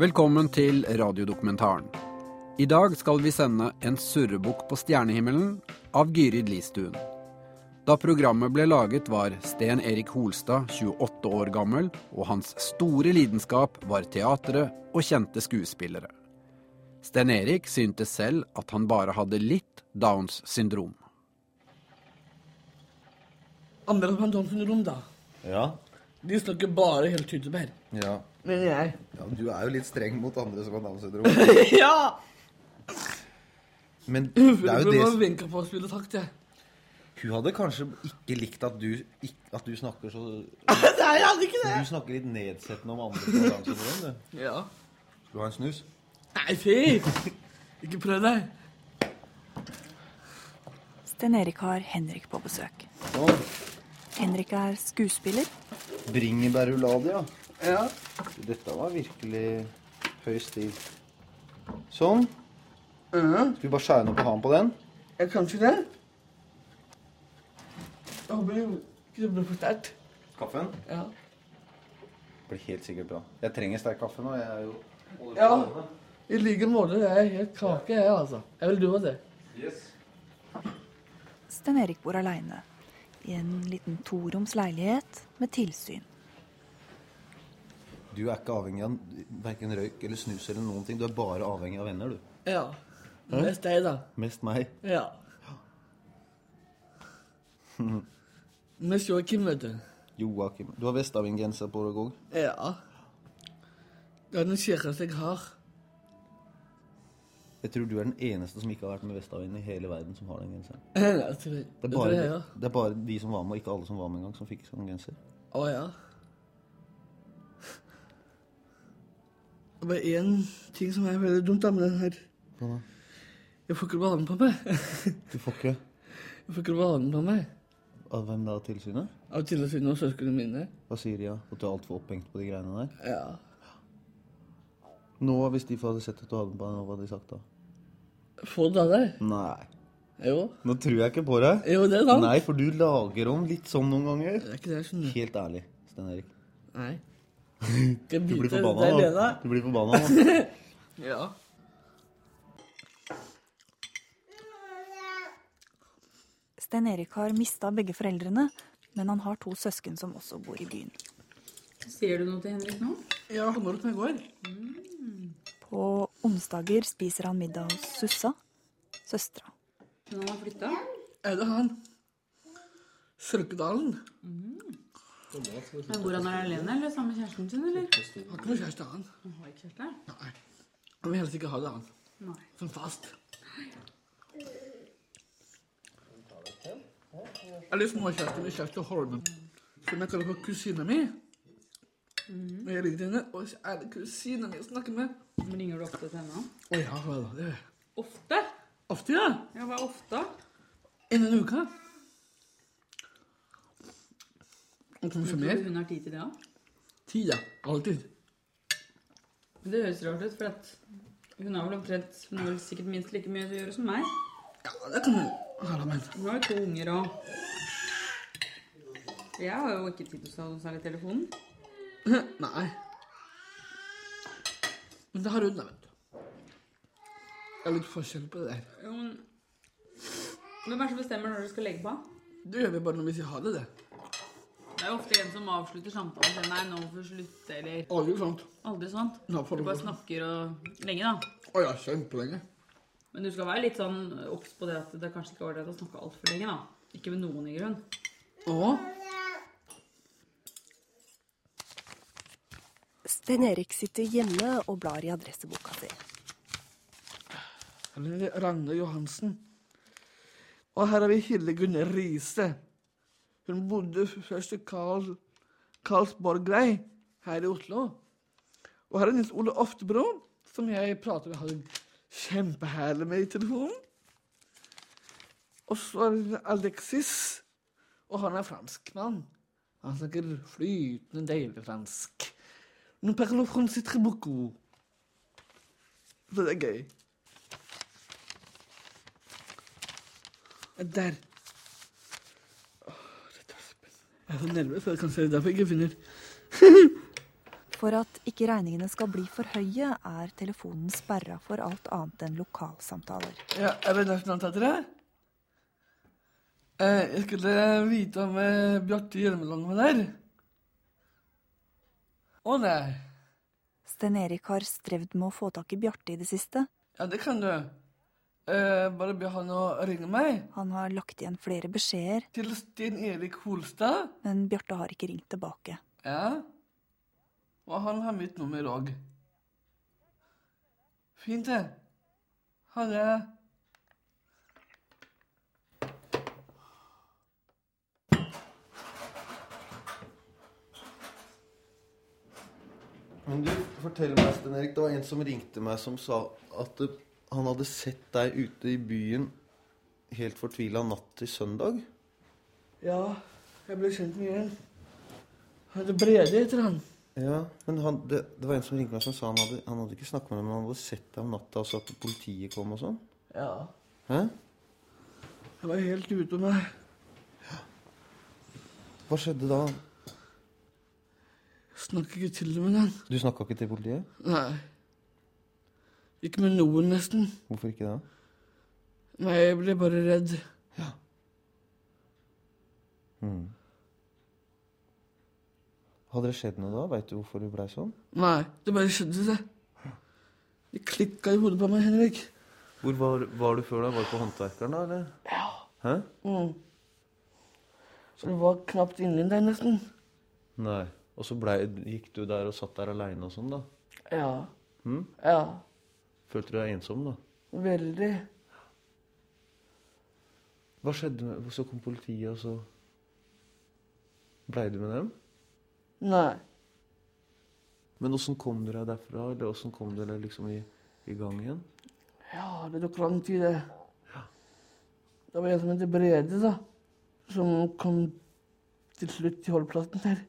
Velkommen til radiodokumentaren. I dag skal vi sende En surrebukk på stjernehimmelen av Gyrid Listuen. Da programmet ble laget, var Sten Erik Holstad 28 år gammel, og hans store lidenskap var teatret og kjente skuespillere. Sten Erik syntes selv at han bare hadde litt Downs syndrom. Andre som har Downs syndrom, da. Ja. De snakker bare helt tyttebær. ja. Mener jeg. Ja, men Du er jo litt streng mot andre som har Downs syndrom. ja! Men det Det er jo det det som som- vinka på oss, ville sagt det. Hun hadde kanskje ikke likt at du, ikk- at du snakker så Nei, jeg hadde ikke det. Du snakker litt nedsettende om andre som har Downs syndrom. du. Ja. Skal du ha en snus? Nei, fy! Ikke prøv deg. Sten Erik har Henrik på besøk. Henrik er skuespiller. Bringebærrullade, ja. Ja. Dette var virkelig høy stil. Sånn. Skal vi bare skjære den opp og ha den på den? Jeg kan ikke det. Jeg håper det ikke blir for sterkt. Kaffen? Ja. Blir helt sikkert bra. Jeg trenger sterk kaffe nå. Jeg er jo Ja. I like måte. Jeg er helt kake, jeg, altså. Jeg vil du ha det. Sten Erik bor aleine i en liten toroms leilighet med tilsyn. Du er ikke avhengig av verken røyk eller snus eller noen ting. Du er bare avhengig av venner, du. Ja. Mest deg, da. Mest meg. Ja. Mest Joakim, vet du. Joakim. Du har Vestavind-genser på deg òg. Ja. Det er den kjekkeste jeg har. Jeg tror du er den eneste som ikke har vært med Vestavind i hele verden som har den genseren. Jeg tror- jeg Det er tror bare, jeg, ja. det er bare de som var med, og ikke alle som var med engang, som fikk sånn genser. Å ja. Det var én ting som er veldig dumt da, med den her. Jeg får ikke banen på meg. Du får ikke Jeg får ikke banen på meg. av hvem da? Tilsynet? Av Tillesund og søsknene mine. Hva sier de, ja? At du er altfor opphengt på de greiene der? Ja. Nå, hvis de hadde sett at du hadde den på deg, nå, hva hadde de sagt da? Få det av deg. Nei. Jo. Nå tror jeg ikke på deg. Jo, det er sant. Nei, for du lager om litt sånn noen ganger. Det er ikke det, skjønner du. Helt ærlig, Stein Erik. Nei. Skal jeg Du blir bite forbanna deg i nå. bena? Du blir forbanna nå. Ja. Sten Erik har mista begge foreldrene, men han har to søsken som også bor i byen. Sier du noe til Henrik nå? Ja, han var oppe i går. På onsdager spiser han middag hos Sussa, søstera. Hun har flytta? Er det han? Sørkedalen. Bor han her alene eller sammen med kjæresten sin, eller? Har ikke noe kjæreste, han. Han har ikke kjæreste. Nei. Han vil helst ikke ha det, han. Nei. Som fast. Eller småkjæresten min, Kjersti Holme, som jeg kaller for kusina mi. Og jeg ringer til henne, og så er det kusina mi jeg snakker med. Men Ringer du ofte til henne? Å ja, hva da? Det er Ofte? Ofte, ja. Ja, hva er ofte? Innen en uke. Og kanskje Tror mer. du hun har tid til det òg? Ti, ja. Alltid. Det høres rart ut, for at hun har vel omtrent Hun har vel sikkert minst like mye å gjøre som meg. Ja, det kan du. Her, men. Hun har jo to unger og Jeg har jo ikke tid til å ta noe særlig telefonen. Nei. Men det har hun, da, vet du. Det er litt forskjell på det der. Jo, men Hvem er det som bestemmer når du skal legge på? Det gjør vi bare når vi sier ha det, det. Det er jo ofte en som avslutter samtalen og sier nei, nå får vi slutte, eller Aldri sånt. Aldri sånt. Nå får Du du bare gå. snakker og lenge, da. Å ja, kjempelenge. Men du skal være litt sånn obs på det at det kanskje ikke var det å snakke altfor lenge, da. Ikke med noen i grunn. Å? Sten Erik sitter hjemme og blar i adresseboka si. Eller Ragne Johansen. Og her har vi Hillegunn Riise. Hun bodde først i Karl, Karlsborgvei her i Oslo. Og her er Nils Ole Oftebro, som jeg prater med har det kjempeherlig med i telefonen. Og så er det Alexis, og han er franskmann. Han snakker flytende deilig fransk. Nous parlons français très beaucoup. Så det er gøy. Der. Åh, dette var spennende. Jeg er så nervøs, og jeg kan se det derfor jeg ikke finner For at ikke regningene skal bli for høye, er telefonen sperra for alt annet enn lokalsamtaler. Ja, er det derfor han tatt det? Eh, jeg skulle vite om eh, Bjarte Hjelmeland var der. Å nei. Stein Erik har strevd med å få tak i Bjarte i det siste. Ja, det kan du. Eh, bare be han å ringe meg. Han har lagt igjen flere beskjeder, Til Sten Erik Holstad. men Bjarte har ikke ringt tilbake. Ja. Og han har mitt nummer òg. Fint, det. Ha det. Men du, fortell meg, Sten Erik, det var en som ringte meg som sa at eh, han hadde sett deg ute i byen helt fortvila natt til søndag. Ja, jeg ble kjent med en. Han heter Brede, heter han. Ja, men han, det, det var en som ringte meg som sa han hadde, han hadde ikke snakket med deg, men han hadde sett deg om natta, altså at politiet kom og sånn. Ja. Hæ? Jeg var helt ute om meg. Hva skjedde da? Snakker ikke til det med han. Du snakka ikke til politiet? Nei. Ikke med noen, nesten. Hvorfor ikke det? Nei, jeg ble bare redd. Hadde det skjedd noe da? Veit du hvorfor du blei sånn? Nei, det bare skjedde, det. Det klikka i hodet på meg, Henrik. Hvor var, var du før da? Var du på Håndverkeren da, eller? Ja. Hæ? Mm. Så det var knapt inni deg, nesten. Nei. Og så blei- gikk du der og satt der aleine og sånn, da? Ja. Mm. Ja. Følte du deg ensom, da? Veldig. Hva skjedde med Så kom politiet, og så Blei du med dem? Nei. Men åssen kom du deg derfra? Eller åssen kom du deg liksom i, i gang igjen? Ja, det tok lang tid, det. Det var en som het Brede, da. Som kom til slutt til holdeplassen her.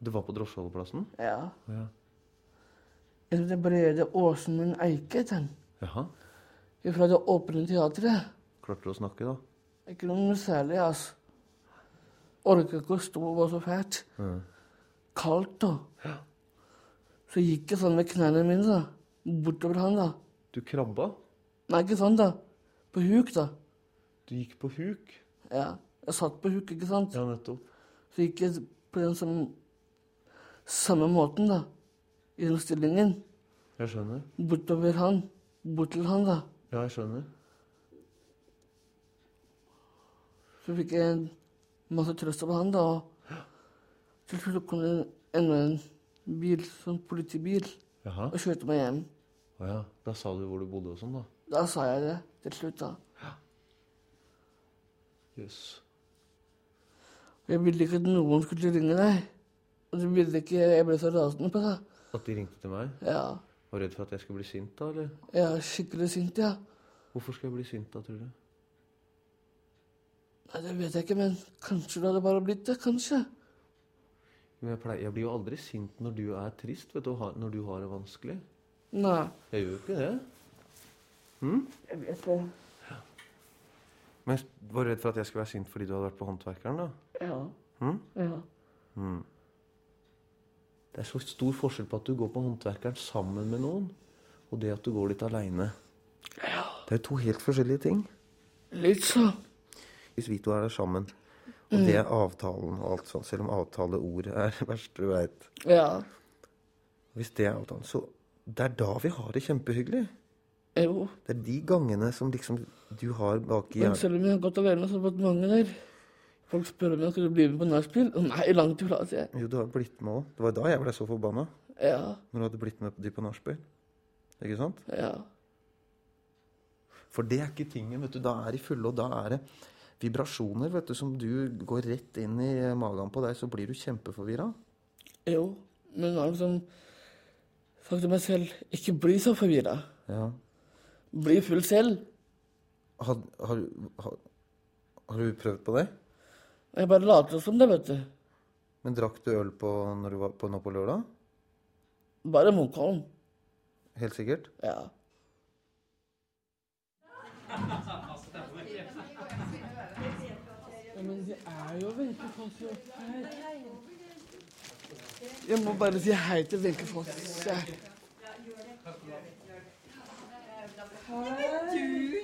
Det var på drosjeholdeplassen? Ja. Å Ja. En som heter Brede Åsmund Eike, het han. Jaha. Fra Det Åpne Teatret. Klarte du å snakke, da? Ikke noe særlig, altså. Orka ikke å stå, det var så fælt. Kaldt, da. Så gikk jeg sånn med knærne mine, da. Bortover han, da. Du krabba. Nei, ikke sånn, da. På huk, da. Du gikk på huk. Ja. Jeg satt på huk, ikke sant. Ja, nettopp. Så gikk jeg på den som, samme måten, da. I den stillingen. Jeg skjønner. Bortover han. Bort til han, da. Ja, jeg skjønner. Så fikk jeg en masse trøst av han, da. Og til slutt kom det enda en bil, sånn politibil, Jaha. og kjørte meg hjem. Å ja. Da sa du hvor du bodde og sånn, da. Da sa jeg det til slutt, da. Jøss. Og Jeg ville ikke at noen skulle ringe deg. Og det ville ikke jeg ble så rasende på, da. At de ringte til meg? Ja. Var redd for at jeg skulle bli sint, da? eller? Jeg er skikkelig sint, ja. Hvorfor skal jeg bli sint, da, tror du? Nei, det vet jeg ikke, men kanskje du hadde bare blitt det. Kanskje. Men jeg, pleier, jeg blir jo aldri sint når du er trist, vet du, og har- når du har det vanskelig. Nei. Jeg gjør jo ikke det. Jeg vet det. Men jeg var redd for at jeg skulle være sint fordi du hadde vært på Håndverkeren, da. Ja. Hm? ja. Det er så stor forskjell på at du går på Håndverkeren sammen med noen, og det at du går dit aleine. Det er jo to helt forskjellige ting. Litt så. Hvis vi to er der sammen, og det er avtalen og alt sånt, selv om avtaleordet er det verste du veit. Ja. Hvis det er avtalen, så det er da vi har det kjempehyggelig. Jo. Det er de gangene som liksom du har bak i Men hjernen. selv om jeg har gått alene, så har det vært mange der. Folk spør om jeg skulle bli med på nachspiel. Og Nei, langt ifra, sier jeg. Jo, du har blitt med òg. Det var da jeg ble så forbanna. Ja. Når du hadde blitt med de på nachspiel. Ikke sant? Ja. For det er ikke tingen, vet du. Da er de fulle, og da er det vibrasjoner, vet du, som du går rett inn i magen på deg, så blir du kjempeforvirra. Jo. Men jeg har liksom sagt til meg selv ikke bli så forvirra. Ja. Bli full selv. Har, har, har, har du prøvd på det? Og jeg bare later som det, vet du. Men drakk du øl på, når du var på, nå på lørdag? Bare Munkholm. Helt sikkert? Ja. Men det er jo veldig koselig her. Jeg må bare si hei til Wenche Foss. jeg. Du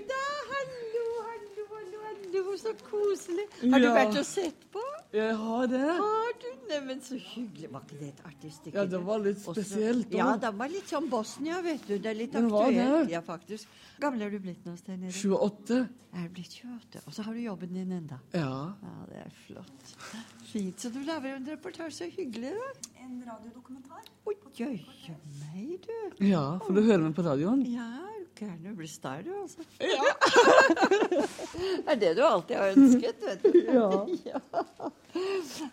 da, hallo, hallo, hallo, hallo, så koselig. Har du Ja. vært og sett på? Jeg har det. Har du? Neimen, så hyggelig. Var ikke det et artig stykke? Ja, det var litt Også- spesielt, da. Ja, det var litt sånn Bosnia, vet du. Det er litt Den var aktuelt. det. Ja, faktisk. Gammel er du blitt nå, Stein Erik? 28. Jeg er blitt 28. Og så har du jobben din enda. Ja. Ja, det er flott. Fint. Så du lager en reportasje. Så hyggelig, da. En radiodokumentar? Oi, jøye meg, du. ja, for du hører meg på radioen? Ja, er du gæren? Du blir star, du, altså. Ja. det er det du alltid har ønsket, vet du. Ja.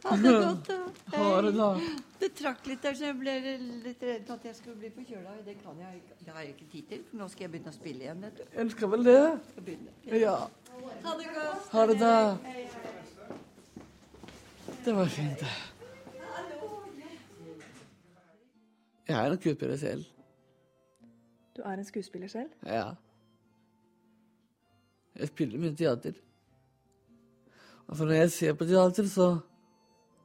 Ha det godt, da. Ha det, da. Det trakk litt der, så jeg ble litt redd for at jeg skulle bli forkjøla. Det kan jeg ikke. Det har jeg ikke tid til, for nå skal jeg begynne å spille igjen. Vet du. Jeg skal vel det. Skal begynne. Ja. Ha det godt. Ha det, da. Det var fint, det. Jeg er en kuppere selv. Du er en skuespiller selv? Ja. Jeg spiller mye teater. Og for når jeg ser på teater, så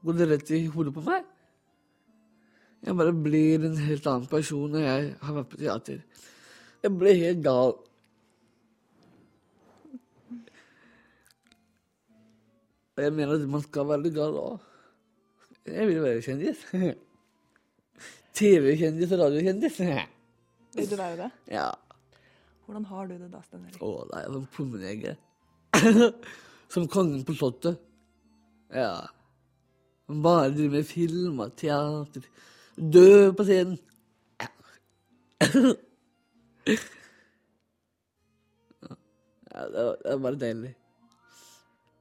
går det rett i hodet på meg. Jeg bare blir en helt annen person når jeg har vært på teater. Jeg ble helt gal. Og jeg mener at man skal være gal òg. Jeg vil være kjendis. TV-kjendis og radiokjendis. Vil du være det? Ja. Hvordan har du det da, Stein Erik? Å nei, som pummeneger. som kongen på slottet. Ja. Han bare driver med film og teater. Død på scenen. ja, det, var, det var bare deilig.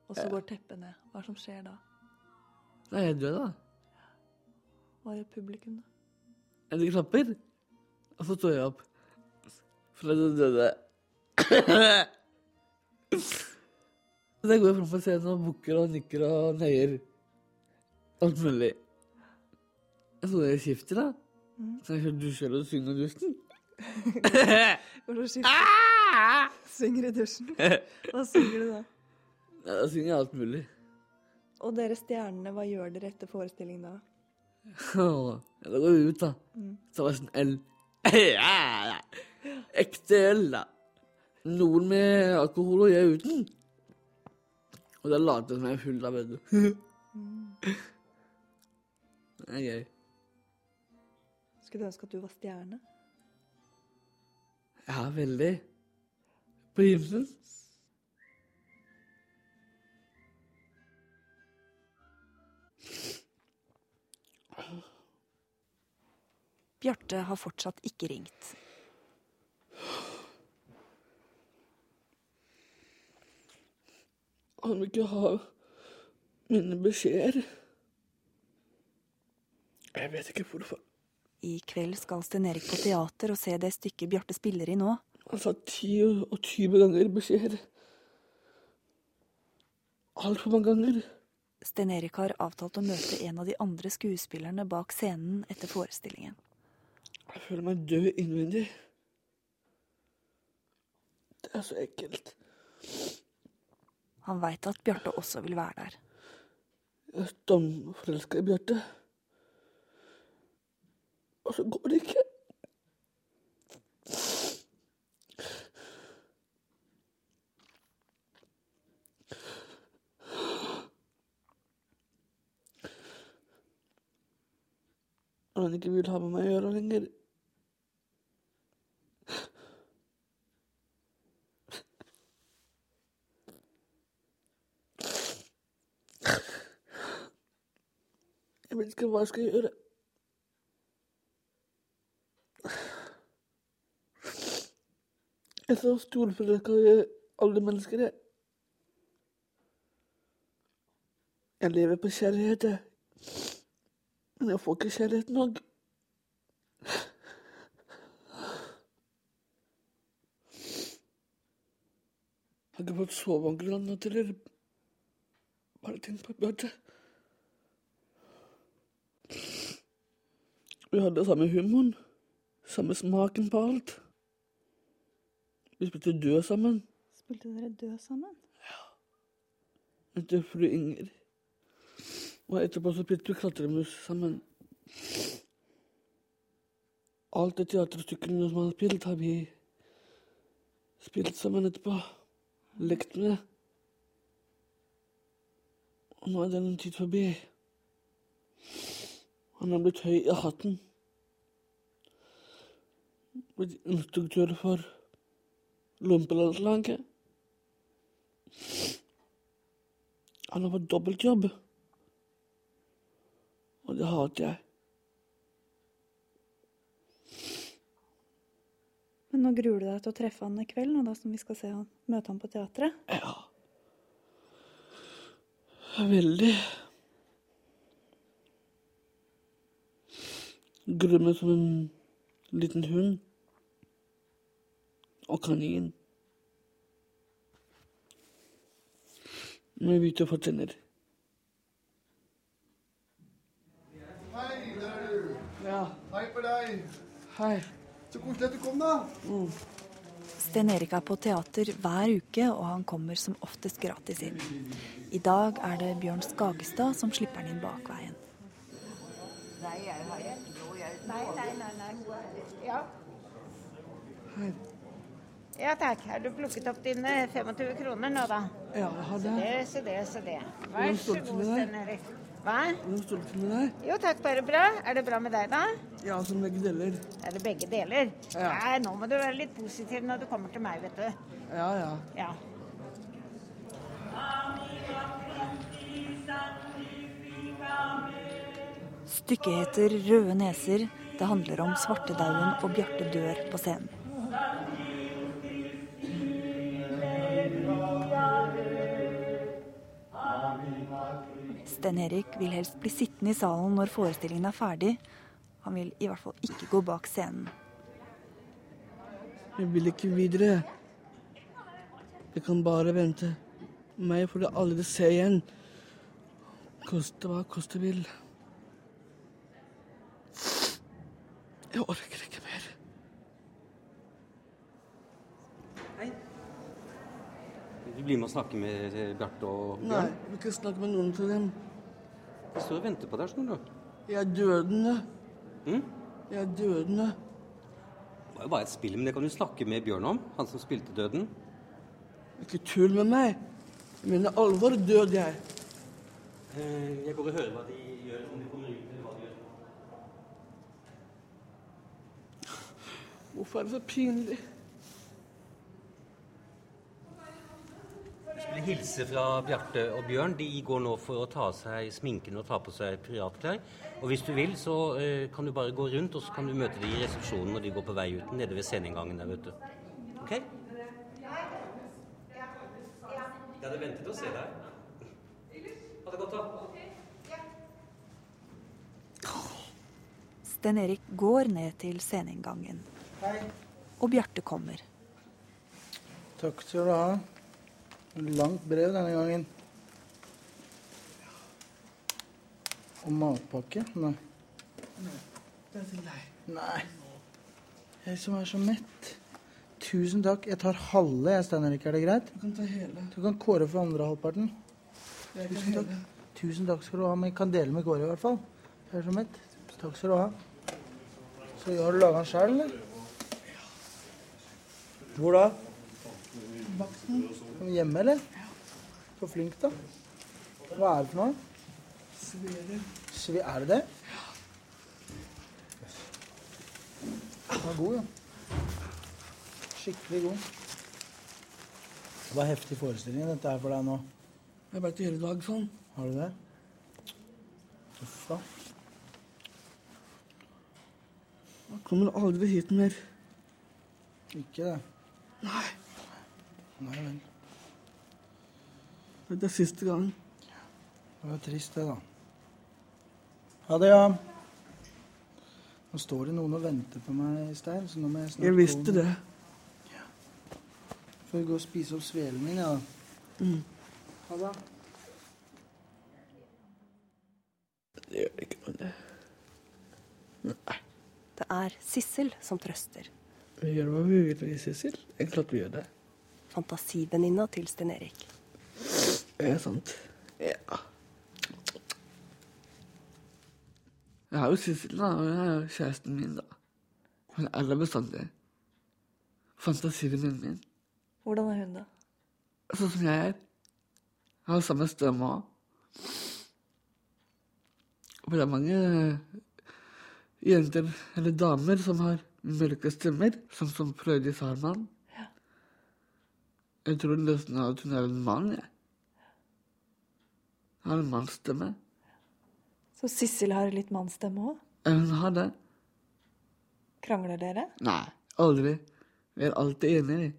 Og så går teppet ned. Hva er det som skjer da? Nei, jeg er død, da. Hva gjør publikum da? Jeg ligger klapper, og så står jeg opp. For at jeg døde. Og da går jeg fram på scenen og bukker og nikker og nøyer. Alt mulig. Jeg står der i skifter, da. Så jeg kjører dusjer og synger dusten. Går du og skifter? Synger i dusjen. Hva synger du da? Ja, Da synger jeg alt mulig. Og dere stjernene, hva gjør dere etter forestillingen da? Åh, ja, Da går vi ut, da. Så var det sånn øl. Ja, ja. Ekte øl, da. Noen med alkohol og jeg uten. Og da later jeg som jeg er full, da, vet du. Det er gøy. Skulle du ønske at du var stjerne? Ja, veldig. På himmelen. Bjarte har fortsatt ikke ringt. Han vil ikke ha mine beskjeder. Jeg vet ikke hvorfor. I kveld skal Sten Erik på teater og se det stykket Bjarte spiller i nå. Han sa ti og tyve ganger beskjeder. Altfor mange ganger. Sten Erik har avtalt å møte en av de andre skuespillerne bak scenen etter forestillingen. Jeg føler meg død innvendig. Det er så ekkelt. Han veit at Bjarte også vil være der. Jeg er stamforelska i Bjarte. Og så går det ikke. Når han ikke vil ha med meg å gjøre lenger. Jeg vet ikke hva jeg skal gjøre. Jeg er så storforelska i alle mennesker, jeg. Jeg lever på kjærlighet, jeg. Men jeg får ikke kjærlighet nok. Jeg har ikke fått sove ordentlig i natt heller. Bare tenk på Bjarte. Vi hadde samme humoren, samme smaken på alt. Vi spilte død sammen. Spilte dere død sammen? Etter fru Inger. Og etterpå så spilte vi klatremus sammen. Alt det teaterstykkene som han har spilt, har vi spilt sammen etterpå. Lekt med det. Og nå er den tid forbi. Han er blitt høy i hatten. Blitt instruktør for lompelandslaget. Han har fått dobbeltjobb. Og det hater jeg. Men nå gruer du deg til å treffe han i kveld, nå da som vi skal se han, møte han på teatret. Ja. Veldig. Gruer meg som en liten hund. Og kanin. Med hvite fortenner. Hei, der er du. Ja, Hei på deg. hei. Så koselig at du kom, da. Sten Erik er på teater hver uke, og han kommer som oftest gratis inn. I dag er det Bjørn Skagestad som slipper han inn bakveien. Nei, jeg har ikke noe. Jeg, nei, nei, nei, nei. Ja. Ja takk. Har du plukket opp dine 25 kroner nå, da? Ja, ha det. Det, så det, så det. Hvordan Vær så står det til god, med deg? Stein Erik. Hva? Er du stolt med deg? Jo takk, bare bra. Er det bra med deg, da? Ja, som begge deler. Er det begge deler? Ja. Nei, nå må du være litt positiv når du kommer til meg, vet du. Ja, ja. Ja. Stykket heter Røde neser. Det handler om svartedauden og Bjarte dør på scenen. Sten Erik vil helst bli sittende i salen når forestillingen er ferdig. Han vil i hvert fall ikke gå bak scenen. Jeg vil ikke videre. Jeg kan bare vente. Meg får du aldri se igjen. Koste hva koste vil. Jeg orker ikke mer. Du blir med og snakker med eh, Bjarte og Nei, Bjørn. du kan snakke med noen til dem. De står og venter på deg, skjønner du. Jeg er dødende. Mm? Jeg er dødende. Det var jo bare et spill, men det kan du snakke med Bjørn om. Han som spilte Døden. Ikke tull med meg. Jeg mener alvor død jeg. Eh, Jeg går og hører hva de gjør, om de kommer ut eller hva de gjør. Hvorfor er det så pinlig? Jeg skulle hilse fra Bjarte og Bjørn. De går nå for å ta av seg sminken og ta på seg piratklær. Og hvis du vil, så eh, kan du bare gå rundt, og så kan du møte de i resepsjonen når de går på vei ut nede ved sceneinngangen der, vet du. OK? Jeg hadde ventet å se deg. Ha det godt, da. Sten Erik går ned til sceneinngangen. Og Bjarte kommer. Takk skal du ha. Langt brev denne gangen. Og matpakke? Nei. Det er til deg. Nei. Jeg som er så mett. Tusen takk. Jeg tar halve, jeg, Stein Erik. Er det greit? Du kan ta hele. Du kan kåre for andre halvparten. Jeg kan Tusen takk. hele. Tusen takk skal du ha. Men jeg kan dele med Kåre, i hvert fall. Jeg er så mett. Takk skal du ha. Så har du laga den sjøl, eller? Hvor da? Bakten. Hjemme, eller? Så flink, da. Hva er det for noe? Sverer. Sve er det det? Den var god, ja. Skikkelig god. Det var heftig forestilling dette her for deg nå. Jeg har vært i hele dag sånn. Har du det? Uff da. Jeg kommer aldri hit mer. Ikke det. Nei. Nei vel. Dette er siste gang. Det var trist, det, da. Ha det, ja. Nå står det noen og venter på meg, Stein, så nå må jeg snart Jeg visste gå. det. Får gå og spise opp svelen min, ja. Mm. Ha det. Det gjør ikke noe, det. Det er Sissel som trøster. Vi gjør hva vi vil, vi, Sissel. Jeg er klart vi gjør det. Fantasivenninna til Sten Erik. Det er sant. Ja. Jeg har jo Sissel, da, og hun er jo kjæresten min, da. Hun er der bestandig. Fantasivinnen min. Hvordan er hun, da? Sånn som jeg er. Jeg har samme stemme òg. Og det er mange eh, jenter, eller damer, som har mørke stemmer, sånn som Frøydis Harman. Jeg tror nesten at hun er en mann, jeg. Har en mannsstemme. Så Sissel har litt mannsstemme òg? Eh, Hun har det. Krangler dere? Nei, aldri. Vi er alltid enige. vi.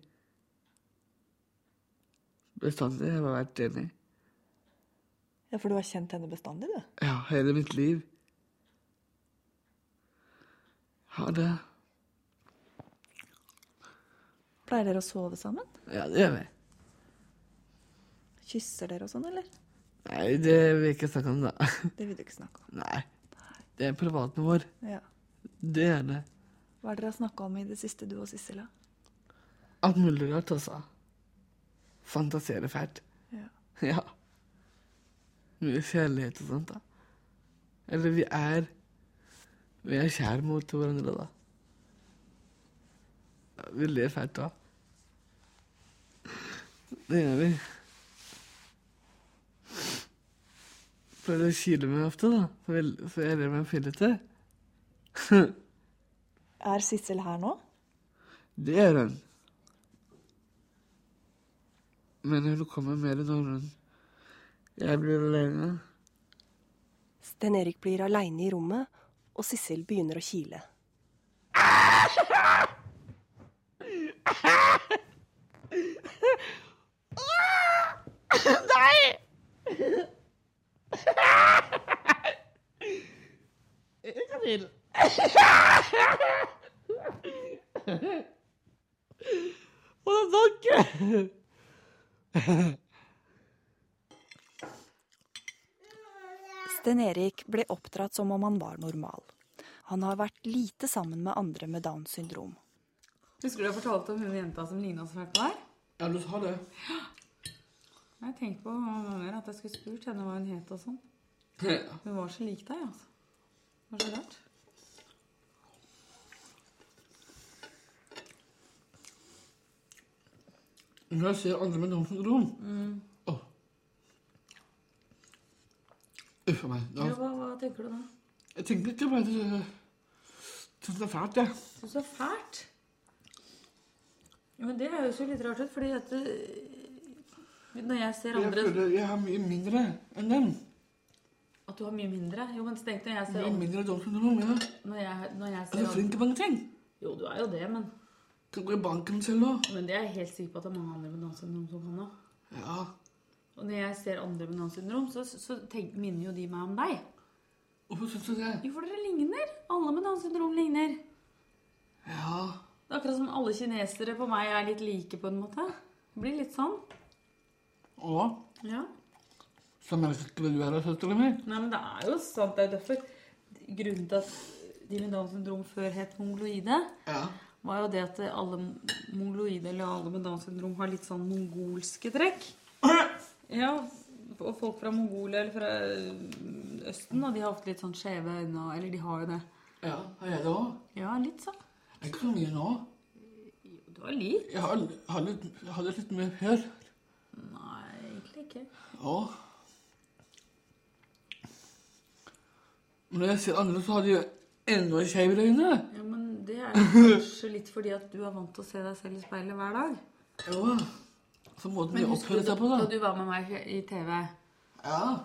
Bestandig har vi vært enige. Ja, For du har kjent henne bestandig, du? Ja, hele mitt liv. Har det. Pleier dere å sove sammen? Ja, det gjør vi. Kysser dere og sånn, eller? Nei, det vil jeg ikke snakke om, da. Det vil du ikke snakke om. Nei. Det er privaten vår. Ja. Det er det. Hva er det dere har snakka om i det siste, du og Sissel? da? Alt mulig rart, altså. Fantasere fælt. Ja. Ja. Mye kjærlighet og sånt, da. Eller vi er Vi er kjære mot hverandre, da. Ja, Vi ler fælt da. Det gjør vi. Pleier å kile meg ofte, da, for jeg- for jeg ler meg fillete. Er Sissel her nå? Det er hun. Men hun kommer mer når hun Jeg blir alene. Sten Erik blir aleine i rommet, og Sissel begynner å kile. Nei! Lykke til. Å, det er dere! Sten Erik ble oppdratt som om han var normal. Han har vært lite sammen med andre med Downs syndrom. Husker du jeg fortalte om hun jenta som ligna så fælt på deg? Ja, du sa det. Jeg tenkte på mange ganger at jeg skulle spurt henne hva hun het og sånn. Ja. Hun var så lik deg, altså. Det var så rart. Når jeg ser andre med Downs syndrom Mm. Uff a meg. Ja, Da, hva, hva tenker du da? jeg tenker ikke på det. Syns det er fælt, jeg. Syns det er fælt? Ja, men det høres jo litt rart ut, fordi at eh, Når jeg ser Jeg andre føler jeg har mye mindre enn dem. At du har mye mindre? Jo, men tenk når jeg ser Mye andre- mindre Downs syndrom, ja. Når jeg, når jeg Jeg ser er flink til mange ting. Jo, du er jo det, men Kan gå i banken selv òg. Men det er jeg helt sikker på at det er mange andre med Downs syndrom som kan òg. Ja. Og når jeg ser andre med Downs syndrom, så, så tenk, minner jo de meg om deg. Hvorfor syns du det? Jo, for dere ligner. Alle med Downs syndrom ligner. Ja. Det er akkurat som alle kinesere på meg er litt like, på en måte. Det blir litt sånn. Og Ja. så merker ikke du er søsteren min. Nei, men det er jo sant. Det er jo derfor grunnen til at de med Downs syndrom før het mongoloide, var jo det at alle mongoloide eller alle med Downs syndrom har litt sånn mongolske trekk. Ja, og folk fra Mongolia eller fra øh, Østen, og de har ofte litt sånn skjeve øyne, og- eller de har jo det. Ja, har jeg det òg? Ja, litt sånn. Det er ikke så mye nå. Du har litt. Jeg har, har, litt, har det litt mer før. Nei, egentlig ikke. Ja. Men når jeg ser andre, så har de jo enda skeivere øyne. Ja, men det er kanskje litt fordi at du er vant til å se deg selv i speilet hver dag. Jo, så måten Men de husker oppfører du seg på, da. Da du var med meg i TV,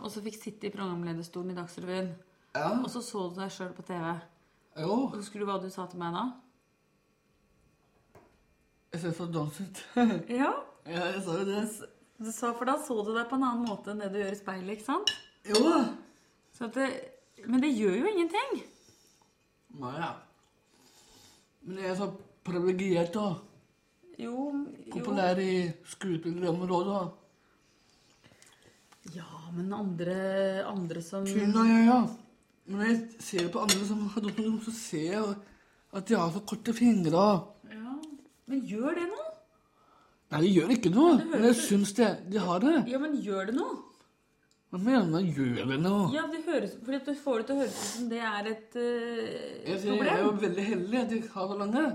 og så fikk sitte i programlederstolen i Dagsrevyen, og så så du deg sjøl på TV. Jo. Husker du hva du sa til meg da? Jeg ser så dans ut. Ja. ja, jeg sa jo det. Du sa, For da så du deg på en annen måte enn det du gjør i speilet, ikke sant? Jo da. Så at det, men det gjør jo ingenting. Nei, ja. Men jeg er så privilegert og Jo, jo. populær i skuespillerområdet. da. Ja, men andre, andre som Tynn og jeg, ja. Men når jeg ser på andre som har Downs syndrom, så ser jeg at de har så korte fingre. og- Ja. Men gjør det noe? Nei, de gjør ikke noe. det høres Men jeg ut- syns de, de har det. Ja, men gjør det noe? Hva mener du? Gjør det nå? Ja, det høres, fordi at du får det til å høres ut som det er et eh, Jeg sier, problem. jeg er jo veldig heldig at jeg har så lange.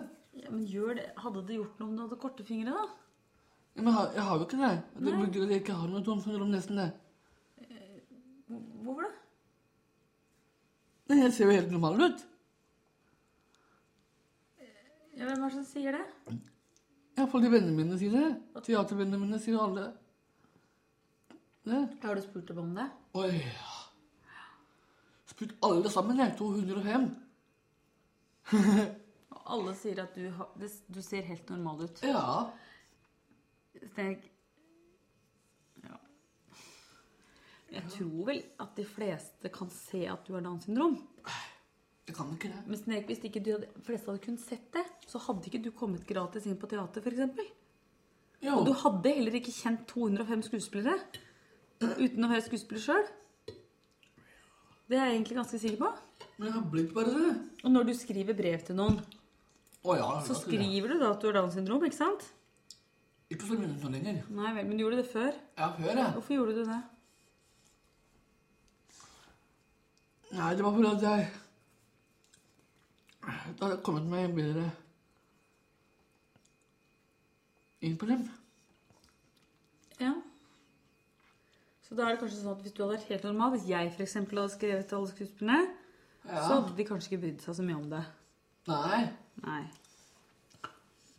Ja, men gjør det. Hadde det gjort noe om du hadde korte fingre, da? Ja, Men jeg har, jeg har jo ikke det. Det Nei. betyr at jeg ikke har noe Downs syndrom, nesten det. Hvor- Hvorfor det? Nei, jeg ser jo helt normal ut. Ja, hvem er det som sier det? Iallfall de vennene mine sier det. Teatervennene mine sier alle det. Har du spurt dem om det? Oi, ja. Spurt alle sammen, jeg. 205. Og alle sier at du, har- det- du ser helt normal ut. Ja. Steg. Ja. Jeg tror vel at de fleste kan se at du har Downs syndrom. Jeg kan ikke det. Men Snek, hvis ikke du hadde, fleste hadde kunnet sett det, så hadde ikke du kommet gratis inn på teater, f.eks. Jo. Og du hadde heller ikke kjent 205 skuespillere uten å være skuespiller sjøl. Det er jeg egentlig ganske sikker på. Men jeg har blitt bare det. Og når du skriver brev til noen, Å ja. jeg så vet ikke det. skriver du da at du har Downs syndrom, ikke sant? Ikke så mye sånn lenger. Nei vel, men du gjorde det før. Ja, før, ja. Hvorfor gjorde du det? Nei, det var fordi at jeg Det hadde kommet meg bedre inn på dem. Ja. Så da er det kanskje sånn at hvis du hadde vært helt normal, hvis jeg for eksempel hadde skrevet til alle skuespillerne, Ja. så hadde de kanskje ikke brydd seg så mye om det. Nei. Nei.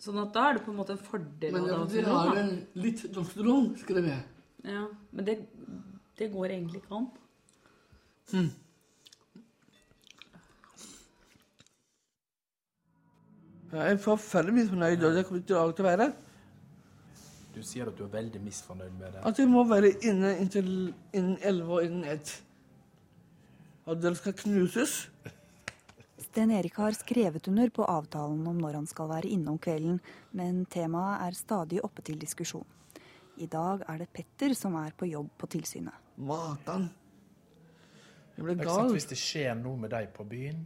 Sånn at da er det på en måte en fordel Men å ha Downs de syndrom, har da. en litt dobbeltrom, skrev jeg. Ja, men det, det går egentlig ikke an. Hmm. Jeg er forferdelig misfornøyd, og det kommer til å være. Du sier at du er veldig misfornøyd med det. At jeg må være inne inntil innen 11 og innen 1. At dere skal knuses. Sten Erik har skrevet under på avtalen om når han skal være innom kvelden, men temaet er stadig oppe til diskusjon. I dag er det Petter som er på jobb på tilsynet. Matan. Jeg ble Ikke sant, gal. Hvis det skjer noe med deg på byen,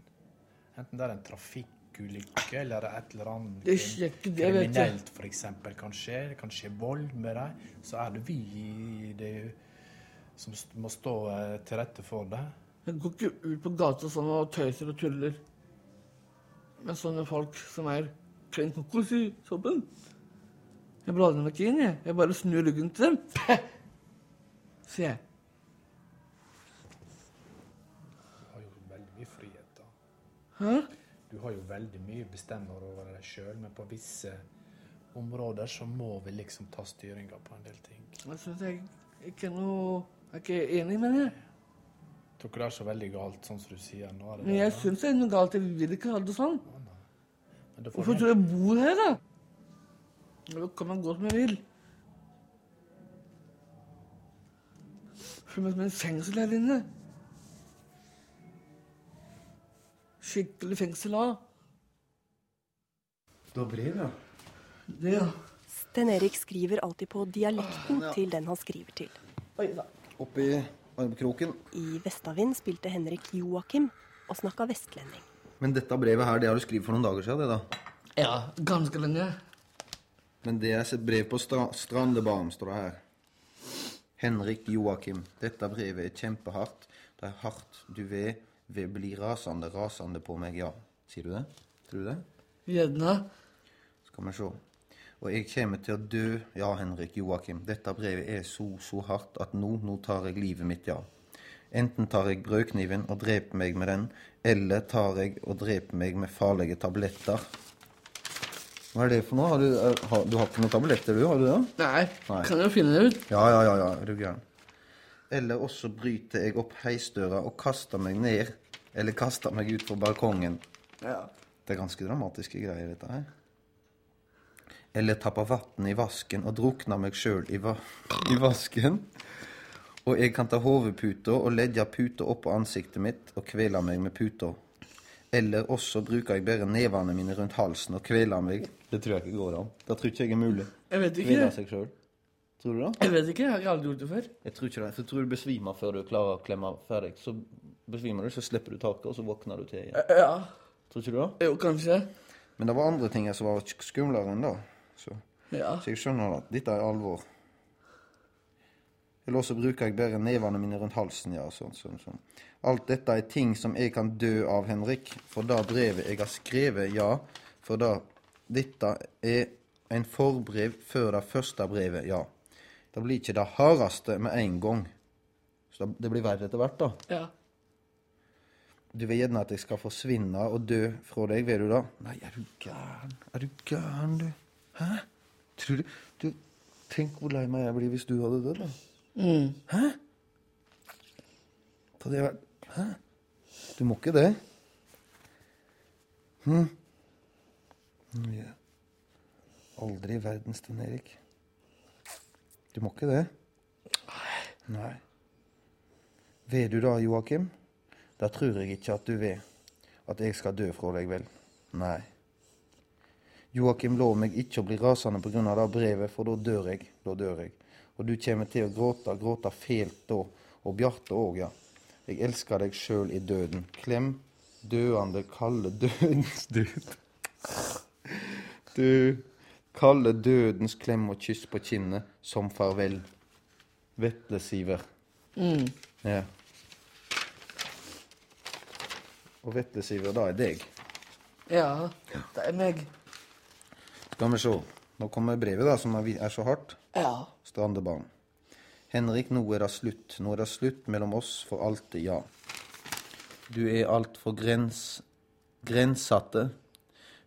enten det er en trafikkulykke eller et eller annet Det skjer ikke det, vet du. kriminelt for eksempel, kan skje, det kan skje vold med deg, så er det vi i det som st- må stå eh, til rette for det. Jeg går ikke ut på gata sånn og tøyser og tuller med sånne folk som er klin kokos i soppen. Jeg blander meg ikke inn, jeg. Jeg bare snur ryggen til dem. Sier jeg. Du har jo veldig mye frihet da. Hæ? Du har jo veldig mye bestemmer over deg sjøl, men på visse områder så må vi liksom ta styringa på en del ting. Jeg syns jeg ikke er noe Jeg er ikke enig med det. Jeg tror ikke det er så veldig galt, sånn som du sier nå. er det Men det, jeg da? syns det er noe galt. Jeg vil ikke ha det sånn. Men det får Hvorfor du- tror du jeg bor her, da? Da kan man gå som jeg vil. Føler meg som en fengsel her inne. Skikkelig fengsel òg. Da blir det. Det, ja. Sten Erik skriver alltid på dialekten til den han skriver til. Oppi armkroken. I Vestavind spilte Henrik Joakim og snakka vestlending. Men dette brevet her, det har du skrevet for noen dager siden, det da? Ja, ganske lenge. Men det er et brev på stra Strandebanen, står det her. Henrik Joakim, dette brevet er kjempehardt. Det er hardt. Du vil, vil bli rasende, rasende på meg, ja. Sier du det? Tror du det? Gjerne. Skal vi se. Og jeg kommer til å dø, ja, Henrik Joakim. Dette brevet er så, så hardt at nå, nå tar jeg livet mitt, ja. Enten tar jeg brødkniven og dreper meg med den, eller tar jeg og dreper meg med farlige tabletter. Hva er det for noe? Har du, er- har, du har ikke noen tabletter, du? Har du det? Nei. Nei. Kan jeg finne det ut? Ja, ja, ja, ja. Er du gæren? Eller også bryter jeg opp heisdøra og kaster meg ned, eller kaster meg ut på balkongen. Ja. Det er ganske dramatiske greier, dette her. Eller tapper vann i vasken og drukner meg sjøl i, va i vasken. Og jeg kan ta hodeputa og legge puta oppå ansiktet mitt og kvele meg med puta. Eller også bruker jeg bare nevene mine rundt halsen og kveler meg. Det tror jeg ikke går an. Det tror ikke jeg er mulig. Jeg vet ikke. Kvele seg selv. Tror du det? Jeg vet ikke. Jeg har aldri gjort det før. Jeg tror ikke det. For jeg tror du besvimer før du klarer å klemme ferdig. Så besvimer du, så slipper du taket, og så våkner du til igjen. Ja. Tror ikke du det? Jo, kanskje. Men det var andre ting som var sk- skumlere enn det. Så, Ja. så jeg skjønner at dette er alvor. Eller også bruker jeg bare nevene mine rundt halsen, ja. Sånn, sånn, sånn. Alt dette er ting som jeg kan dø av, Henrik. For det brevet jeg har skrevet, ja. For det dette er en forbrev før det første brevet, ja. Det blir ikke det hardeste med en gang. Så det- det blir verre etter hvert, da. Ja. Du vil gjerne at jeg skal forsvinne og dø fra deg, vil du da? Nei, er du gæren? Er du gæren, du? Hæ? Tror du, du Tenk hvor lei meg jeg blir hvis du hadde dødd, da. Mm. Hæ? Så det var Hæ? Du må ikke det. Hm? Mm, ja. Aldri i verden, Sten Erik. Du må ikke det. Nei. Vil du da, Joakim? Da tror jeg ikke at du vil. At jeg skal dø fra deg, vel? Nei. Joakim lov meg ikke å bli rasende pga. det brevet, for da dør jeg. Da dør jeg. Og du kommer til å gråte, gråte fælt da. Og Bjarte òg, ja. Jeg elsker deg sjøl i døden. Klem døende, kalde dødens død. Du kalde dødens klem og kyss på kinnet som farvel. Vetle Siver. Mm. Ja. Og Vetle Siver, da er deg. Ja, det er meg. Skal vi se. Nå kommer brevet, da, som er vi- er så hardt. Ja. Strandebanen. Henrik, nå er det slutt. Nå er det slutt mellom oss for alltid, ja. Du er altfor grens... grensatte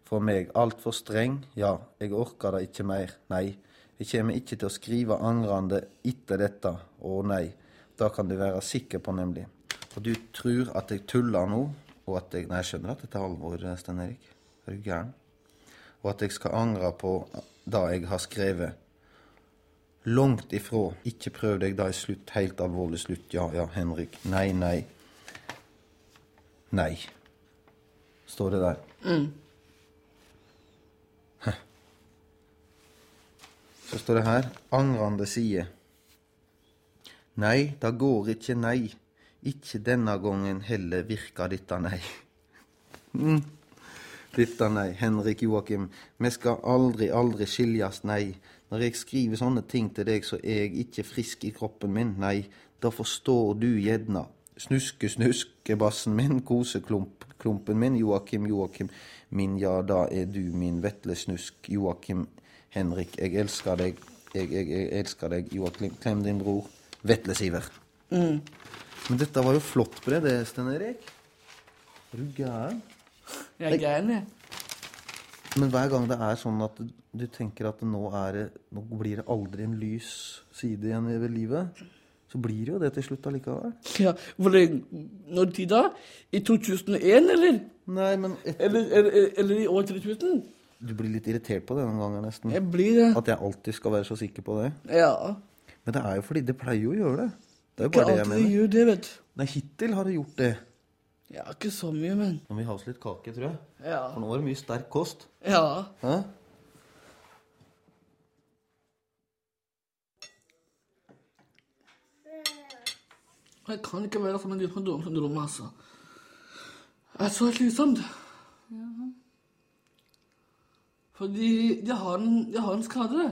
for meg. Altfor streng, ja. Jeg orker det ikke mer, nei. Jeg kommer ikke til å skrive angrende etter dette, å nei. Det kan du være sikker på, nemlig. Og du tror at jeg tuller nå, og at jeg Nei, jeg skjønner at dette er alvor, Stein Erik. Er du gæren? Og at jeg skal angre på det jeg har skrevet. Langt ifra. Ikke prøv deg da i slutt. Helt alvorlig slutt. Ja, ja, Henrik. Nei, nei. Nei. Står det der. Mm. Så står det her angrende side. Nei, det går ikke, nei. Ikke denne gangen heller virker dette nei. Mm. Dette nei, Henrik Joakim. Vi skal aldri, aldri skiljes, nei. Når jeg skriver sånne ting til deg, så er jeg ikke frisk i kroppen min, nei. Da forstår du gjerne. Snuske, snuskebassen min, koseklumpen min, Joakim, Joakim. Min, ja, da er du min vetle snusk, Joakim. Henrik, jeg elsker deg. Jeg, jeg, jeg elsker deg, Joakim. Klem din bror. Vetle Siver. Mm. Men dette var jo flott brev, det, Sten Erik. Er du gæren? Jeg er gæren, jeg. Men hver gang det er sånn at du tenker at nå, er det, nå blir det aldri en lys side igjen ved livet, så blir det jo det til slutt allikevel. Ja, hvor lenge, når tid da? I 2001, eller? Nei, men eller, eller, eller i år 3000? Du blir litt irritert på det noen ganger nesten. Jeg blir det. At jeg alltid skal være så sikker på det. Ja. Men det er jo fordi det pleier jo å gjøre det. Det er jo Ikke bare det jeg alltid mener. gjør det, vet du. Nei, hittil har det gjort det. Ja, ikke så mye, men Nå må vi ha oss litt kake, tror jeg. Ja. For nå var det mye sterk kost. Ja. Hæ? Jeg kan ikke være sammen med de som har Downs syndrom, altså. Det er så slitsomt. Fordi de har en, de har en skade.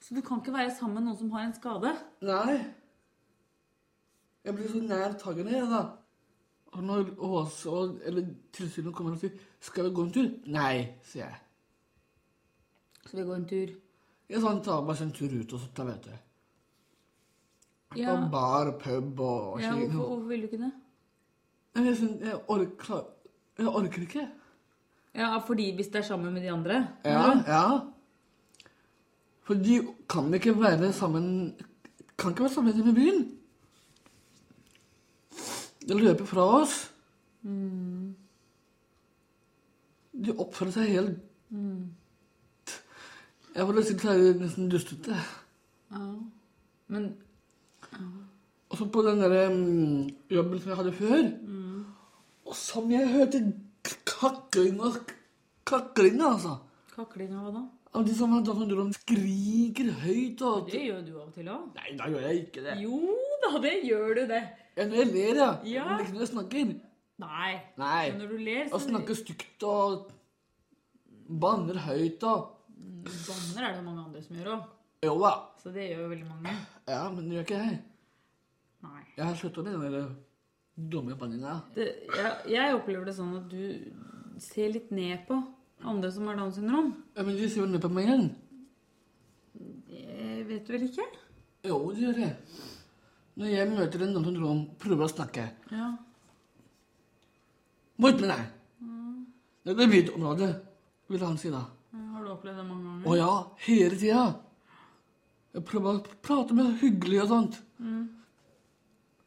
Så du kan ikke være sammen med noen som har en skade? Nei. Jeg blir så nær taggene, jeg, da. Og når Åse og, eller tilsynet kommer og sier 'Skal vi gå en tur?' Nei, sier jeg. Skal vi gå en tur? Jeg sånn, tar bare en tur ut og sånt, da, vet du. Ja. På bar, pub og Ja, slik. hvorfor, hvorfor vil du ikke det? Men Jeg, synes- jeg, orker, jeg orker ikke. Ja, fordi hvis det er sammen med de andre? Ja, ja. For de kan ikke være sammen Kan ikke være sammen med byen. De løper fra oss. Mm. De oppfører seg helt Mm. Jeg må nesten si det er nesten dustete. Ja. Men Og så på den der mm, jobben som jeg hadde før, Mm. og som jeg hørte kakling og sk- kakling, altså. kakling av hva da? Av de som har Downs syndrom, skriker høyt og Det gjør du av og til òg. Nei, da gjør jeg ikke det. Jo da, det gjør du det. Jeg når jeg ler, ja. Ja. Men ikke når jeg snakker. Nei. Nei. Men når du ler, Og snakker stygt og banner høyt og Banner er det mange andre som gjør òg. Jo da. Så det gjør jo veldig mange. Ja, men det gjør ikke jeg. Nei. Jeg har slutta med den der dumme banninga. Det, jeg, jeg opplever det sånn at du ser litt ned på andre som har Downs syndrom. Ja, men du ser jo ned på meg igjen. Jeg vet vel ikke? Jo, det gjør jeg. Når jeg møter en annen rom, prøver å snakke. Ja. Bort med deg! Mm. Det er mitt område, vil han si da. Har du opplevd det mange ganger? Å ja, hele tida. Jeg prøver å prate med hyggelig og sånt. Mm.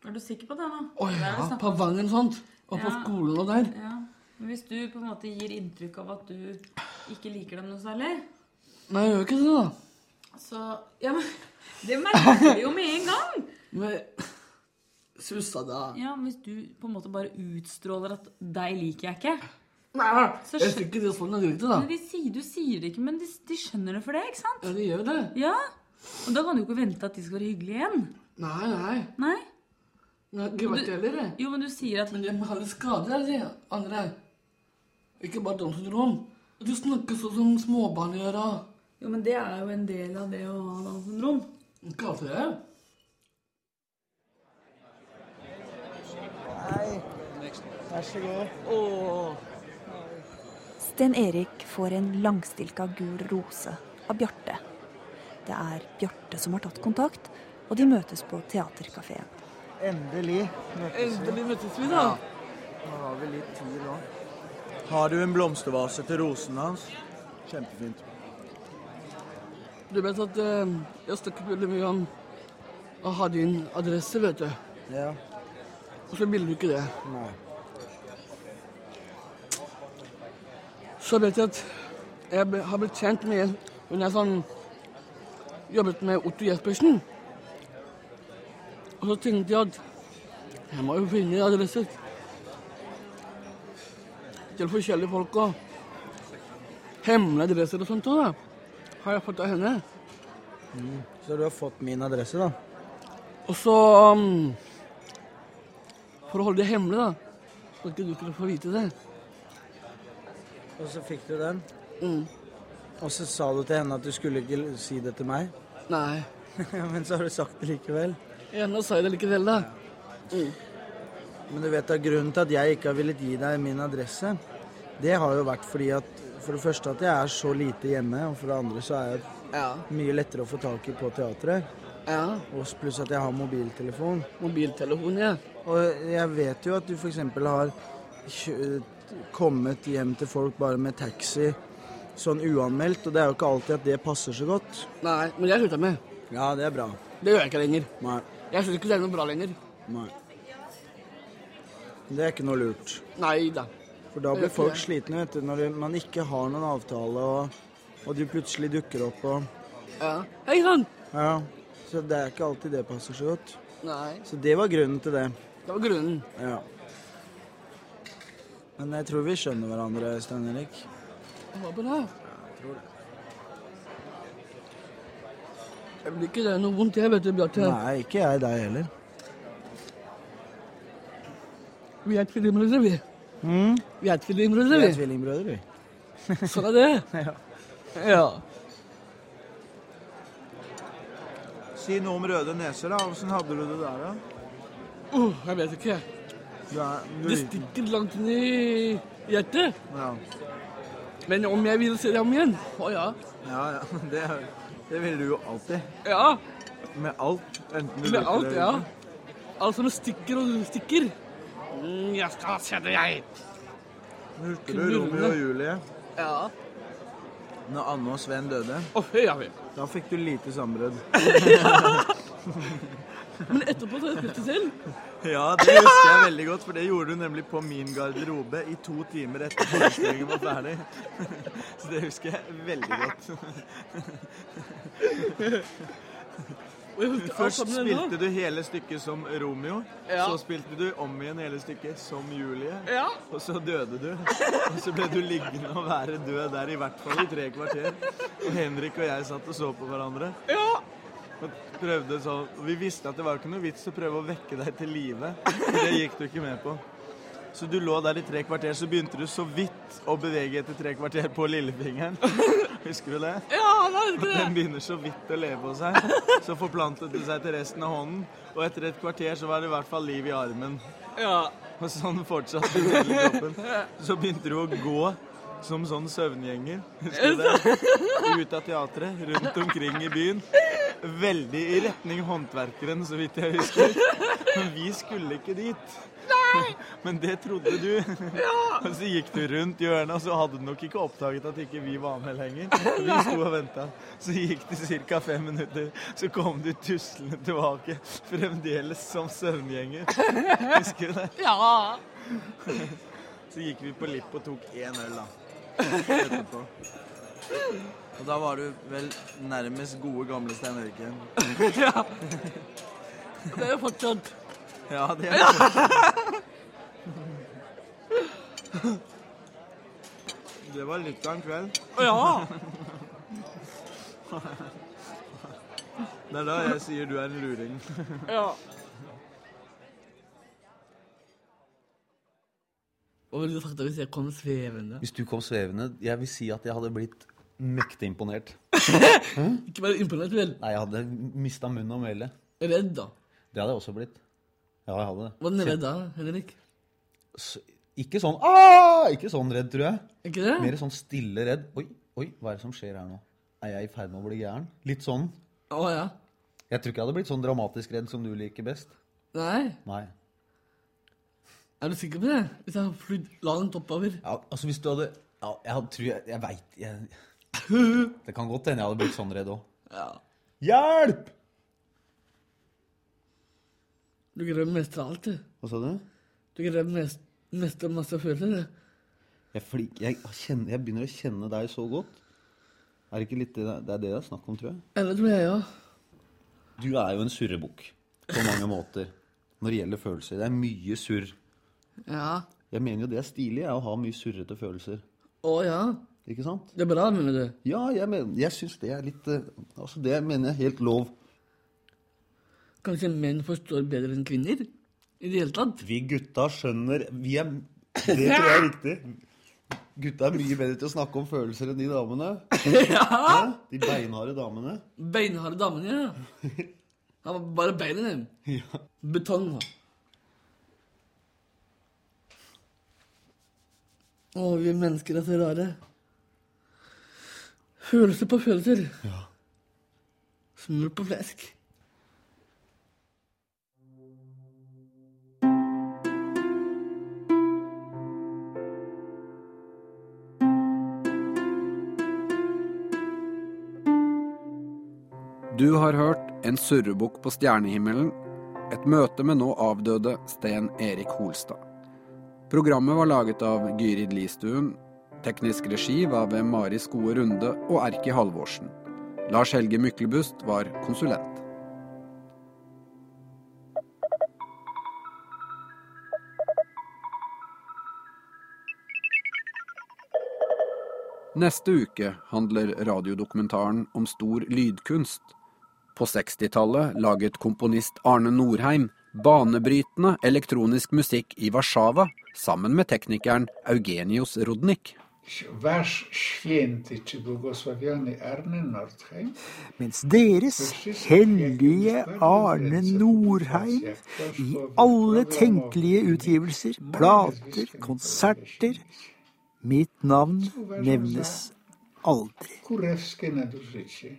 Er du sikker på det nå? Å Det er ja, det snakk på om. Vangen og sånt. Og på Ja. skolen og der. Ja. Men hvis du på en måte gir inntrykk av at du ikke liker dem noe særlig, Nei, jeg gjør ikke det, da. så Ja, men det merker vi jo med en gang! Men Susanna Ja, men Hvis du på en måte bare utstråler at 'deg liker jeg ikke' Nei, så jeg skjø- syns ikke det er sånn jeg gjør det, da. Men de sier, Du sier det ikke, men de, de skjønner det for det, ikke sant? Ja, de gjør det. Ja, Og da kan du ikke vente at de skal være hyggelige igjen. Nei, nei. Nei? Nei, det vet jeg heller, jeg. Jo, men du sier at Men jeg har litt skader, jeg, sier andre. Ikke bare Downs syndrom. Du snakker sånn som småbarn gjør. da. Jo, men det er jo en del av det å ha Downs syndrom. Ikke alltid det. Hei. Vær så god. Sten Erik får en langstilka gul rose av Bjarte. Det er Bjarte som har tatt kontakt, og de møtes på teaterkafeen. Endelig møtes vi. Endelig møttes vi, da. Nå har vi litt tid nå. Har du en blomstervase til rosene hans? Kjempefint. Du vet at eh, jeg snakket veldig mye om å ha din adresse, vet du. Ja. Og så ville du ikke det. Nei. Så vet jeg at jeg ble- har blitt kjent med Hun er sånn Jobbet med Otto Jespersen. Og så tenkte jeg at jeg må jo finne adresser til forskjellige folk og hemmelige adresser og sånt òg, da. Har jeg fått av henne. Mm. Så du har fått min adresse, da? Og så um, For å holde det hemmelig, da. Så ikke du skulle få vite det. Og så fikk du den? Mm. Og så sa du til henne at du skulle ikke si det til meg? Nei. Men så har du sagt det likevel. Ennå sa jeg det likevel, da. Mm. Men du vet at grunnen til at jeg ikke har villet gi deg min adresse, det har jo vært fordi at for det første at jeg er så lite hjemme, og for det andre så er jeg mye lettere å få tak i på teatret. Ja. Og s- pluss at jeg har mobiltelefon. Mobiltelefon, ja. Og jeg vet jo at du f.eks. har kjø- kommet hjem til folk bare med taxi sånn uanmeldt, og det er jo ikke alltid at det passer så godt. Nei, men det har jeg slutta med. Ja, det er bra. Det gjør jeg ikke lenger. Nei. Jeg syns ikke det er noe bra lenger. Nei. Det er ikke noe lurt. Nei da. For da Det gjør blir ikke folk det. slitne, vet du, når du- man ikke har noen avtale, og, og du plutselig dukker opp og Ja. Hei sann! Ja. Så det er ikke alltid det passer så godt. Nei. Så det var grunnen til det. Det var grunnen. Ja. Men jeg tror vi skjønner hverandre, Stein Erik. Det var bra. Jeg tror det. Jeg vil ikke det er noe vondt, jeg, vet du, Bjarte. Nei, ikke jeg deg heller. Vi er tvillingbrødre, vi. Mm. Vi er Vi tvillingbrødre, er vi. tvillingbrødre, vi. Sånn er det. ja. Si noe om røde neser, da. Åssen hadde du det der, da? Uh, jeg vet ikke. Du er, Det stikker langt inn i hjertet. Ja. Men om jeg vil se dem igjen? Å ja. ja, ja. Det, er- det ville du jo alltid. Ja. Med alt. Enten du Med liker det alt, eller ja. ikke. Alt som stikker og stikker. Mm, jeg skal se det, jeg. Husker du Romeo og Julie? Ja. Når Anne og Sven døde? ja, Da fikk du lite sambrød. Men etterpå så har jeg spilt det selv. ja, det husker jeg veldig godt, for det gjorde du nemlig på min garderobe i to timer etter forestillingen var ferdig. Så det husker jeg veldig godt. Først spilte du hele stykket som Romeo, Ja. så spilte du om igjen hele stykket som Julie, Ja. og så døde du. Og så ble du liggende og være død der i hvert fall i tre kvarter. Og Henrik og jeg satt og så på hverandre. Og prøvde sånn og Vi visste at det var ikke noe vits å prøve å vekke deg til live. for Det gikk du ikke med på. Så du lå der i tre kvarter, så begynte du så vidt å bevege etter tre kvarter på lillefingeren. Husker du det? Ja, var det ikke det? Den begynner så vidt å leve på seg. Så forplantet det seg til resten av hånden, og etter et kvarter så var det i hvert fall liv i armen. Ja. Og sånn fortsatte det hele kroppen. Så begynte du å gå som sånn søvngjenger. Husker du det? Ut av teatret, rundt omkring i byen. Veldig i retning håndverkeren, så vidt jeg husker. Men vi skulle ikke dit. Men det trodde du. Og så gikk du rundt hjørnet, og så hadde du nok ikke oppdaget at ikke vi var med lenger. Vi sto og venta. Så gikk det ca. fem minutter. Så kom du tuslende tilbake, fremdeles som søvngjenger. Husker du det? Ja. Så gikk vi på Lipp og tok én øl, da. Etterpå. Og da var du vel nærmest gode gamle Stein Erik igjen. Ja. Det er jo fortsatt. Ja, det er det. Det var litt av en kveld. Ja. Det er da jeg sier du er en luring. ja. Hva ville du sagt da hvis jeg kom svevende? Hvis du kom svevende Jeg vil si at jeg hadde blitt mektig imponert. Ikke bare imponert, vel? Nei, jeg hadde mista munnen og melet. Redd, da? Det hadde jeg også blitt. Ja, jeg hadde det. Var den redd da, Henrik? S- Ikke sånn «Ah!» Ikke sånn redd, tror jeg. Ikke det? Mer sånn stille redd. Oi, oi, hva er det som skjer her nå? Er jeg i ferd med å bli gæren? Litt sånn. Å ja. Jeg tror ikke jeg hadde blitt sånn dramatisk redd som du liker best. Nei? Nei. Er du sikker på det? Hvis jeg har flydd langt oppover? Ja, altså hvis du hadde Ja, jeg hadde- tror jeg Jeg veit jeg... Det kan godt hende jeg hadde blitt sånn redd òg. Ja. Hjelp! Du greier å mestre alt, du. Hva sa du? Du greier å mes- mestre masse følelser. du. Jeg, flik, jeg, kjenner, jeg begynner å kjenne deg så godt. Er det ikke litt det det er det det er snakk om, tror jeg? Eller tror jeg, ja. Du er jo en surrebukk på mange måter når det gjelder følelser. Det er mye surr. Ja. Jeg mener jo det er stilig jeg, å ha mye surrete følelser. Å ja. Ikke sant? Det er bra, mener du? Ja, jeg, mener, jeg syns det er litt eh, Altså, det mener jeg er helt lov. Kanskje menn forstår bedre enn kvinner? I det hele tatt? Vi gutta skjønner Vi er Det tror jeg er riktig. Gutta er mye bedre til å snakke om følelser enn de damene. Ja, de beinharde damene. Beinharde damene, ja. Han var bare beina, dem. Ja. Betong. da. Å, vi mennesker er så rare. Følelser på følelser. Ja. Smør på flesk. Du har hørt En surrebukk på stjernehimmelen, et møte med nå avdøde Sten Erik Holstad. Programmet var laget av Gyrid Listuen, teknisk regi var ved Mari Skoe Runde og Erki Halvorsen. Lars Helge Myklebust var konsulent. Neste uke handler radiodokumentaren om stor lydkunst. På 60-tallet laget komponist Arne Norheim banebrytende elektronisk musikk i Warszawa sammen med teknikeren Eugenius Rodnik. Wasz święty czy błogosławiony Arne Nordheim Mens deres hellige Arne Norheim i alle tenkelige utgivelser, plater, konserter Mitt navn nevnes aldri. kurewskie nadużycie.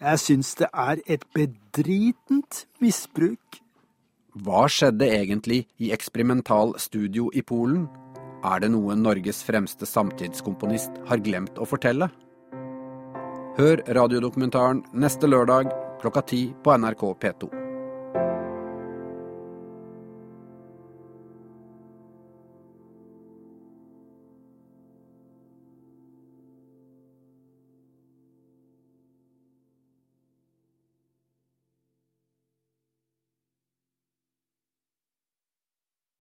Jeg syns det er et bedritent misbruk Hva skjedde egentlig i Eksperimental Studio i Polen? Er det noe Norges fremste samtidskomponist har glemt å fortelle? Hør radiodokumentaren neste lørdag klokka ti på NRK P2.